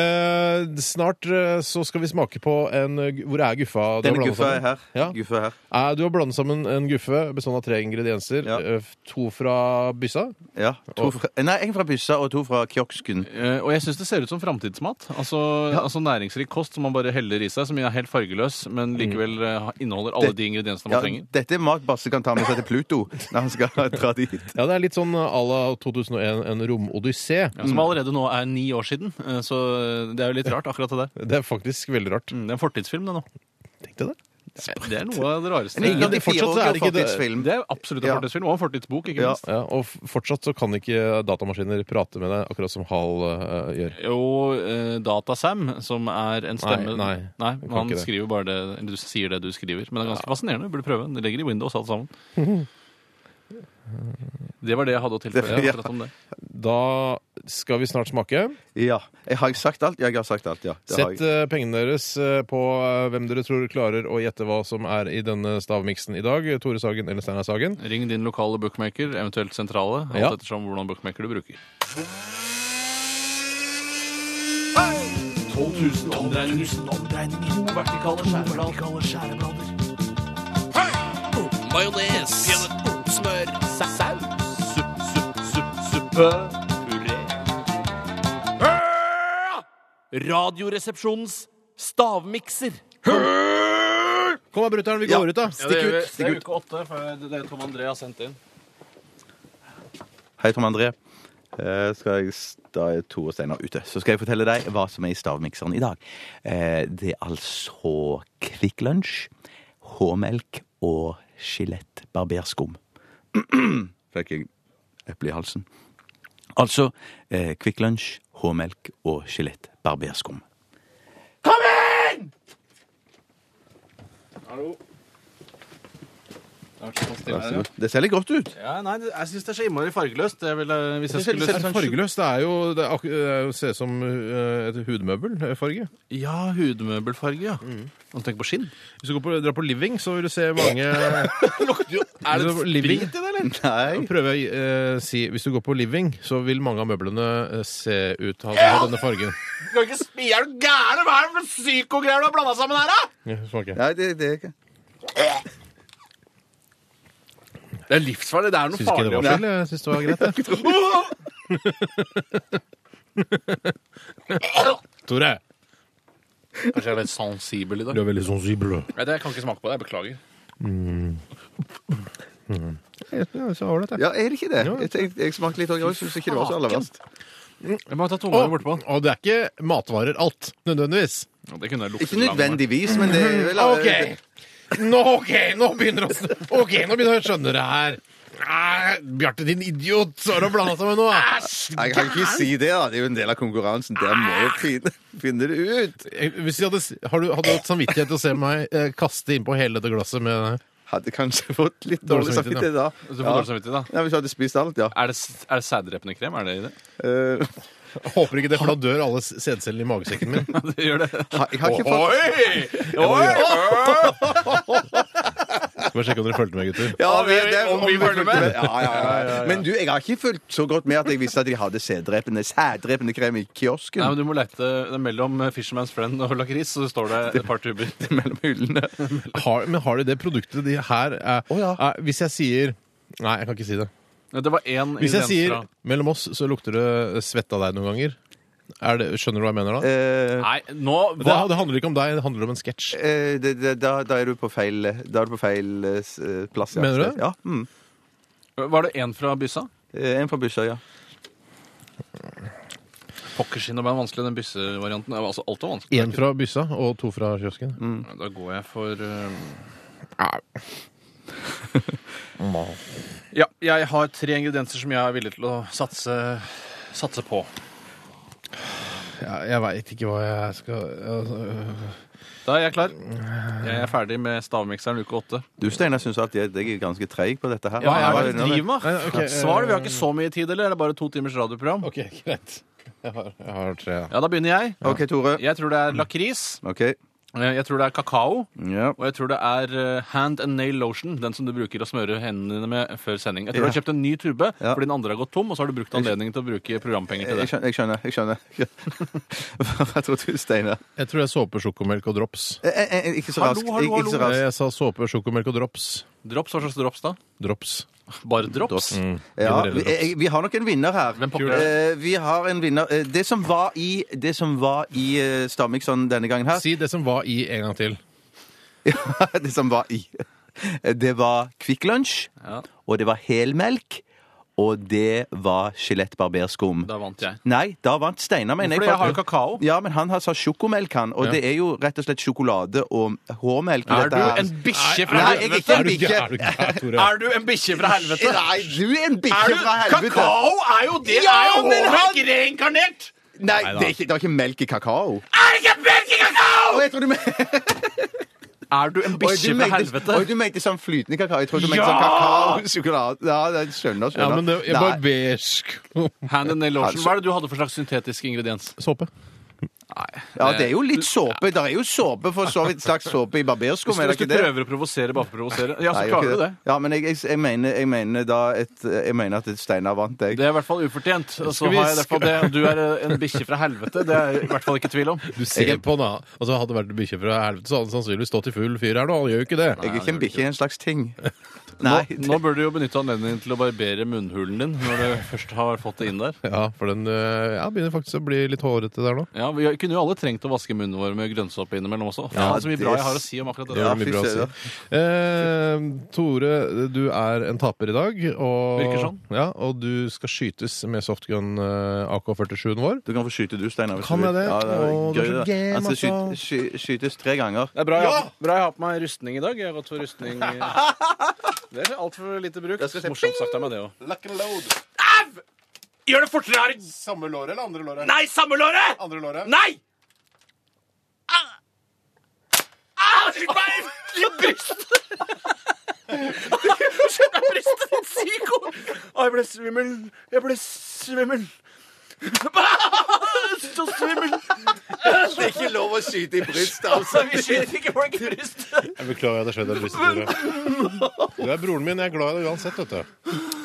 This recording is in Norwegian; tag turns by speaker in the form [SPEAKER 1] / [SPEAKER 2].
[SPEAKER 1] Eh, snart eh, så skal vi smake på en eh, Hvor er guffa? du har
[SPEAKER 2] Denne
[SPEAKER 1] blandet
[SPEAKER 2] guffa er
[SPEAKER 1] sammen?
[SPEAKER 2] her.
[SPEAKER 1] Ja.
[SPEAKER 2] Guffa er her.
[SPEAKER 1] Eh, du har blandet sammen en guffe bestående av tre ingredienser.
[SPEAKER 2] Ja.
[SPEAKER 1] Eh, to fra byssa.
[SPEAKER 2] Ja. To fra, nei, en fra byssa og to fra kiosken.
[SPEAKER 3] Eh, Og jeg syns det ser ut som framtidsmat. Altså, altså næringsrik kost som man bare heller i seg, som er helt fargeløs, men likevel eh, ha- inneholder alle
[SPEAKER 2] Mm. Det-
[SPEAKER 3] de ingrediensene
[SPEAKER 2] Ja,
[SPEAKER 3] man trenger.
[SPEAKER 2] dette er mat Basse kan ta med seg til Pluto når han skal dra dit.
[SPEAKER 1] Ja, det er litt sånn eh, à la 2001 En romodyssé.
[SPEAKER 3] Ja, som allerede nå er ni år siden, eh, så eh, det er jo litt rart, akkurat det der.
[SPEAKER 1] Det er faktisk veldig rart.
[SPEAKER 3] Mm, Det er en fortidsfilm, det nå.
[SPEAKER 1] Tenk deg det.
[SPEAKER 3] Det er noe av det rareste.
[SPEAKER 2] En
[SPEAKER 1] Ingen-
[SPEAKER 3] Det
[SPEAKER 2] 94-årig
[SPEAKER 1] fortsatt er det ikke det-
[SPEAKER 2] fortidsfilm.
[SPEAKER 3] er absolutt en
[SPEAKER 2] Ja.
[SPEAKER 3] fortidsfilm, og en fortidsbok, ikke
[SPEAKER 2] Ja.
[SPEAKER 3] minst.
[SPEAKER 1] Ja, og f- fortsatt så kan ikke datamaskiner prate med deg, akkurat som Hal eh, gjør.
[SPEAKER 3] Og eh, Datasam, som er en stemme
[SPEAKER 1] nei, jeg kan ikke
[SPEAKER 3] han
[SPEAKER 1] det.
[SPEAKER 3] skriver bare det Eller du sier det du skriver. Men det er ganske fascinerende. Du burde prøve. Det ligger i Windows, alt sammen. Det var det jeg hadde å tilføye.
[SPEAKER 2] Ja.
[SPEAKER 3] akkurat om det.
[SPEAKER 1] Da skal vi snart smake.
[SPEAKER 2] Ja. Jeg har jeg sagt alt? Ja, jeg har sagt alt, ja. Det har
[SPEAKER 1] Sett
[SPEAKER 2] jeg.
[SPEAKER 1] eh, pengene deres eh, på eh, hvem dere tror klarer å gjette hva som er i denne stavmiksen i dag. Tore Sagen eller Steinar Sagen.
[SPEAKER 3] Ring din lokale bookmaker, eventuelt sentrale, alt
[SPEAKER 1] Ja.
[SPEAKER 3] ettersom hvordan bookmaker du bruker. 12 000 omdreininger. To vertikale skjæreblader. Majones. Smør. Saus. Supp, supp, supp, suppe. Puré. Radioresepsjonens stavmikser.
[SPEAKER 1] Kom da, brutter'n, vi går ut, da. Stikk ut. Stikk ut.
[SPEAKER 3] uke åtte, for det er Tom André har sendt inn.
[SPEAKER 2] Hei, Tom André. Eh, skal jeg, s- da er Tore Steinar ute. Så skal jeg fortelle deg hva som er i stavmikseren i dag. Eh, det er altså Kvikk Lunsj, H-melk og Skjelett barberskum. Fikk jeg eple i halsen. Altså eh, Kvikk Lunsj, H-melk og Skjelett barberskum.
[SPEAKER 3] Vær så god.
[SPEAKER 2] Det ser litt godt ut.
[SPEAKER 3] Ja, nei, det- jeg syns det er så innmari fargeløst. Jeg ville, hvis jeg skulle sånn
[SPEAKER 1] Selv fargeløst. Det er jo det er, ak- det er jo- ser ut som eh, et hudmøbelfarge.
[SPEAKER 3] Ja, hudmøbelfarge, ja. Og tenk på skinn.
[SPEAKER 1] Hvis du går på, drar på Living, så vil du se mange Er det Living?
[SPEAKER 3] i det, eller?
[SPEAKER 2] Nei.
[SPEAKER 1] Prøver jeg å eh, si Hvis du går på Living, så vil mange av møblene eh, se ut av ha denne fargen.
[SPEAKER 3] Du kan ikke spi, er du gæren? Hva er det for psykogreier du har blanda sammen her, da?
[SPEAKER 1] Ja, smake.
[SPEAKER 2] Nei, det, det er ikke
[SPEAKER 3] Det er livsfarlig. Det er noe
[SPEAKER 1] Syns ikke det var feil. Jeg syns det var greit, jeg. Tore.
[SPEAKER 3] Kanskje jeg er litt sensibel i
[SPEAKER 1] Du
[SPEAKER 3] dag.
[SPEAKER 1] er veldig sensibel.
[SPEAKER 3] Nei, det- Jeg kan ikke smake på det. Jeg beklager.
[SPEAKER 2] Ja, er det ikke det? Jeg, jeg, jeg smakte litt òg, jeg syns ikke det var så aller verst.
[SPEAKER 3] Jeg må ta tunga
[SPEAKER 1] Og, og det er ikke matvarer alt, nødvendigvis.
[SPEAKER 3] Det kunne jeg luktet
[SPEAKER 2] Ikke nødvendigvis, men det er vel
[SPEAKER 1] OK. Nå, ok, nå begynner oss Ok, nå begynner jeg å skjønne det her. Nei, Bjarte, din idiot! Så har du blanda seg med noe.
[SPEAKER 2] Jeg kan ikke si det, da. Det er jo en del av konkurransen. Der må jeg finne, finne det ut.
[SPEAKER 1] Jeg- Eh, Hvis jeg hadde, s- har du, hadde du hatt samvittighet til å se meg eh, kaste innpå hele dette glasset med
[SPEAKER 2] Hadde kanskje fått litt dårlig
[SPEAKER 1] Dårlig
[SPEAKER 2] samvittighet da.
[SPEAKER 3] Du får
[SPEAKER 2] Ja.
[SPEAKER 3] dårlig samvittighet, da.
[SPEAKER 2] Ja, hvis jeg hadde spist alt, ja.
[SPEAKER 3] Er det, s- er det sæddrepende krem? Er det i det?
[SPEAKER 2] Eh,
[SPEAKER 1] Jeg Håper ikke det, for da dør alle s- sædcellene i magesekken min.
[SPEAKER 3] det gjør det.
[SPEAKER 2] ha- jeg har ikke fått
[SPEAKER 3] Oi! Oi!
[SPEAKER 1] Skal bare sjekke om dere fulgte med, gutter.
[SPEAKER 2] ja,
[SPEAKER 3] Om vi- om vi følger med.
[SPEAKER 2] Ja, ja, ja, ja. Men du, jeg har ikke fulgt så godt med at jeg visste at de hadde sæddrepende sæddrepende krem i kiosken.
[SPEAKER 3] Nei, men du må lete det er mellom eh, Fisherman's Friend og lakris, så står det et par tuber.
[SPEAKER 2] mellom hyllene.
[SPEAKER 3] Ah.
[SPEAKER 1] Har, men har de det produktet de her er,
[SPEAKER 2] Å, ja.
[SPEAKER 1] er Hvis jeg sier Nei, jeg kan ikke si det.
[SPEAKER 3] Ja, Det var én
[SPEAKER 1] Hvis jeg
[SPEAKER 3] ingrediens
[SPEAKER 1] sier
[SPEAKER 3] fra-
[SPEAKER 1] mellom oss, så lukter det svette av deg noen ganger. Er det, skjønner du hva jeg mener da?
[SPEAKER 2] Eh,
[SPEAKER 3] Nei, nå
[SPEAKER 1] Det,
[SPEAKER 3] hva?
[SPEAKER 1] det handler ikke om deg, det handler om en sketsj.
[SPEAKER 2] eh, det, det, da, da er du på feil, da er du på feil eh, s- eh, plass. Ja.
[SPEAKER 1] Mener du det?
[SPEAKER 2] Ja. Mm.
[SPEAKER 3] Var det én fra byssa?
[SPEAKER 2] Eh, En fra Bussøya. Ja.
[SPEAKER 3] Pokkerskinn var vanskelig, den byssevarianten. Det var Altså, alt var vanskelig.
[SPEAKER 2] Eh,
[SPEAKER 1] Én fra byssa og to fra kiosken.
[SPEAKER 2] Mm.
[SPEAKER 3] Da går jeg for eh, Ja, jeg har tre ingredienser som jeg er villig til å satse, satse på.
[SPEAKER 1] Jeg, jeg veit ikke hva jeg skal altså,
[SPEAKER 3] Da er jeg klar. Jeg er ferdig med stavmikseren uke åtte.
[SPEAKER 2] Du, Steinar, syns at jeg, jeg er ganske treig på dette her.
[SPEAKER 3] Ja, jeg
[SPEAKER 2] Hva
[SPEAKER 3] er
[SPEAKER 2] er det nå?
[SPEAKER 3] driv med?
[SPEAKER 1] Nei, ok, eh,
[SPEAKER 3] Svar det. Vi har ikke så mye tid, eller? Er det bare to timers radioprogram?
[SPEAKER 1] OK, greit. Jeg har, jeg har tre.
[SPEAKER 3] Ja, da begynner jeg.
[SPEAKER 2] OK, Tore.
[SPEAKER 3] Jeg tror det er lakris.
[SPEAKER 2] OK.
[SPEAKER 3] Eh, Jeg tror det er kakao.
[SPEAKER 2] Ja.
[SPEAKER 3] Og jeg tror det er eh, hand and nail lotion, den som du bruker å smøre hendene dine med før sending. Jeg tror du har
[SPEAKER 2] Ja.
[SPEAKER 3] kjøpt en ny tube,
[SPEAKER 2] Ja.
[SPEAKER 3] fordi den andre har gått tom, og så har du brukt anledningen til å bruke programpenger
[SPEAKER 2] Jeg
[SPEAKER 3] til det.
[SPEAKER 2] skjønner. jeg skjønner, jeg skjønner. Hva tror du, Steinar?
[SPEAKER 1] Jeg tror det er såpe, sjokomelk og drops.
[SPEAKER 2] Eh, eh, eh, Ikke så
[SPEAKER 3] Hallo,
[SPEAKER 2] raskt.
[SPEAKER 3] hallo,
[SPEAKER 2] ikke- Ikke så
[SPEAKER 3] hallo.
[SPEAKER 2] raskt.
[SPEAKER 1] Jeg sa såpe, sjokomelk og drops.
[SPEAKER 2] Eh,
[SPEAKER 3] Drops, hva slags drops da?
[SPEAKER 1] Drops.
[SPEAKER 3] Bare drops?
[SPEAKER 2] Mm. Ja,
[SPEAKER 1] Generelle
[SPEAKER 2] vi,
[SPEAKER 1] drops.
[SPEAKER 2] eh, vi har nok en vinner her.
[SPEAKER 3] Hvem popper det?
[SPEAKER 2] Eh, vi har en vinner. Eh, Det som var i, det som var i eh, Stavmikseren denne gangen her
[SPEAKER 1] Si det som var i en gang til.
[SPEAKER 2] Det som var i eh, Det var Kvikk Lunsj,
[SPEAKER 3] Ja,
[SPEAKER 2] og det var helmelk, og det var Skjelett barberskum.
[SPEAKER 3] da vant jeg.
[SPEAKER 2] Nei, da vant Steinar, mener
[SPEAKER 3] Fordi jeg har jo kakao.
[SPEAKER 2] Ja, men han har sa sjokomelk, han. Og det er jo rett og slett sjokolade og hårmelk. i
[SPEAKER 3] Er
[SPEAKER 2] dette
[SPEAKER 3] du
[SPEAKER 2] her.
[SPEAKER 3] en bikkje
[SPEAKER 2] Nei,
[SPEAKER 3] fra
[SPEAKER 2] jeg er
[SPEAKER 3] helvete?
[SPEAKER 2] ikke en
[SPEAKER 1] du
[SPEAKER 2] bikkje.
[SPEAKER 1] gæren, gæren, Tore?
[SPEAKER 3] Er du en bikkje fra helvete?
[SPEAKER 2] Nei, du er en
[SPEAKER 3] Er
[SPEAKER 2] bikkje
[SPEAKER 3] du,
[SPEAKER 2] fra helvete!
[SPEAKER 3] kakao er jo det!
[SPEAKER 2] Ja,
[SPEAKER 3] det er jo
[SPEAKER 2] men han-
[SPEAKER 3] hårmelk reinkarnert!
[SPEAKER 2] Nei, det er, ikke, det er ikke melk i kakao.
[SPEAKER 3] Er det ikke melk i kakao?!
[SPEAKER 2] Å, jeg tror du men-
[SPEAKER 3] Er du en
[SPEAKER 2] Oi,
[SPEAKER 3] bikkje
[SPEAKER 2] du
[SPEAKER 3] fra
[SPEAKER 2] mente-
[SPEAKER 3] helvete?
[SPEAKER 2] Oi, du mente sånn flytende kakao. Jeg tror du mente
[SPEAKER 3] Ja!
[SPEAKER 2] sånn kakao-sjokolade. Ja, det- skjønner, skjønner.
[SPEAKER 1] Ja, men det er
[SPEAKER 2] Nei.
[SPEAKER 1] bare beige
[SPEAKER 3] Hand and nail lotion.
[SPEAKER 2] Altså-
[SPEAKER 3] Hva er det du hadde for slags syntetisk ingrediens?
[SPEAKER 1] såpe.
[SPEAKER 2] ja, det er jo litt såpe. Det er jo såpe for så vidt slags såpe i barberskum, er
[SPEAKER 3] Hvis
[SPEAKER 2] det
[SPEAKER 3] du
[SPEAKER 2] ikke det?
[SPEAKER 3] prøver å provosere bare for å provosere, ja, så
[SPEAKER 2] Nei, gjør ikke
[SPEAKER 3] klarer du det.
[SPEAKER 2] Ja, men jeg, jeg, jeg, mener, jeg mener da et, Jeg mener at et Steinar vant, jeg.
[SPEAKER 3] Det er i hvert fall ufortjent. Og så
[SPEAKER 1] vi
[SPEAKER 3] har jeg
[SPEAKER 1] sk-
[SPEAKER 3] derfor det at Du er en bikkje fra helvete. Det er jeg i hvert fall ikke tvil om.
[SPEAKER 1] Du ser på den, da. Altså, hadde det vært bikkje fra helvete, så hadde den sannsynligvis stått i full fyr her nå. Han gjør jo ikke det.
[SPEAKER 2] Jeg er ikke en bikkje, jeg er en slags ting.
[SPEAKER 3] Nå,
[SPEAKER 2] Nei.
[SPEAKER 3] nå bør du jo benytte anledningen til å barbere munnhulen din når du først har fått det inn der.
[SPEAKER 1] Ja, for den øh, ja, begynner faktisk å bli litt hårete der nå.
[SPEAKER 3] Ja, Vi kunne jo alle trengt å vaske munnen vår med grønnsåpe innimellom også. Faen,
[SPEAKER 2] Ja,
[SPEAKER 3] så mye
[SPEAKER 2] det
[SPEAKER 3] bra
[SPEAKER 2] s-
[SPEAKER 3] jeg har å si om akkurat
[SPEAKER 1] Det var
[SPEAKER 3] det.
[SPEAKER 2] Ja,
[SPEAKER 1] mye
[SPEAKER 2] fy
[SPEAKER 1] bra å
[SPEAKER 2] søren.
[SPEAKER 1] si. Eh, Tore, du er en taper i dag. Og,
[SPEAKER 3] Virker sånn.
[SPEAKER 1] Ja, og du skal skytes med softgun eh, AK-47-en vår.
[SPEAKER 2] Du kan få skyte du, Steinar. hvis
[SPEAKER 1] Kan
[SPEAKER 2] du vil.
[SPEAKER 1] jeg det?
[SPEAKER 2] Ja, det er
[SPEAKER 1] Å,
[SPEAKER 2] gøy,
[SPEAKER 1] det er så
[SPEAKER 2] det.
[SPEAKER 1] gøy,
[SPEAKER 2] Han skal
[SPEAKER 1] altså.
[SPEAKER 2] skyte, sky, skytes tre ganger.
[SPEAKER 3] Det er bra jeg, har- bra jeg har på meg rustning i dag. Jeg har gått for rustning Det er altfor lite brukt.
[SPEAKER 2] skal jeg se.
[SPEAKER 3] Morsomt sagt av meg, det òg.
[SPEAKER 4] Luck and load.
[SPEAKER 3] Gjør det fortere! Are.
[SPEAKER 4] Samme låret eller andre låret?
[SPEAKER 3] Nei, samme låret!
[SPEAKER 4] Andre låret.
[SPEAKER 3] Nei! Au! Au! Skyt meg i brystet! Skyt meg i brystet, din psyko! Å, jeg ble svimmel. Jeg ble svimmel. Så svimmel.
[SPEAKER 2] Det er ikke lov å skyte i brystet, altså.
[SPEAKER 3] Vi skyter ikke folk i brystet.
[SPEAKER 1] Jeg beklager at jeg skjøt deg i brystet. Tore. Du er broren min. Jeg er glad i deg uansett, vet du.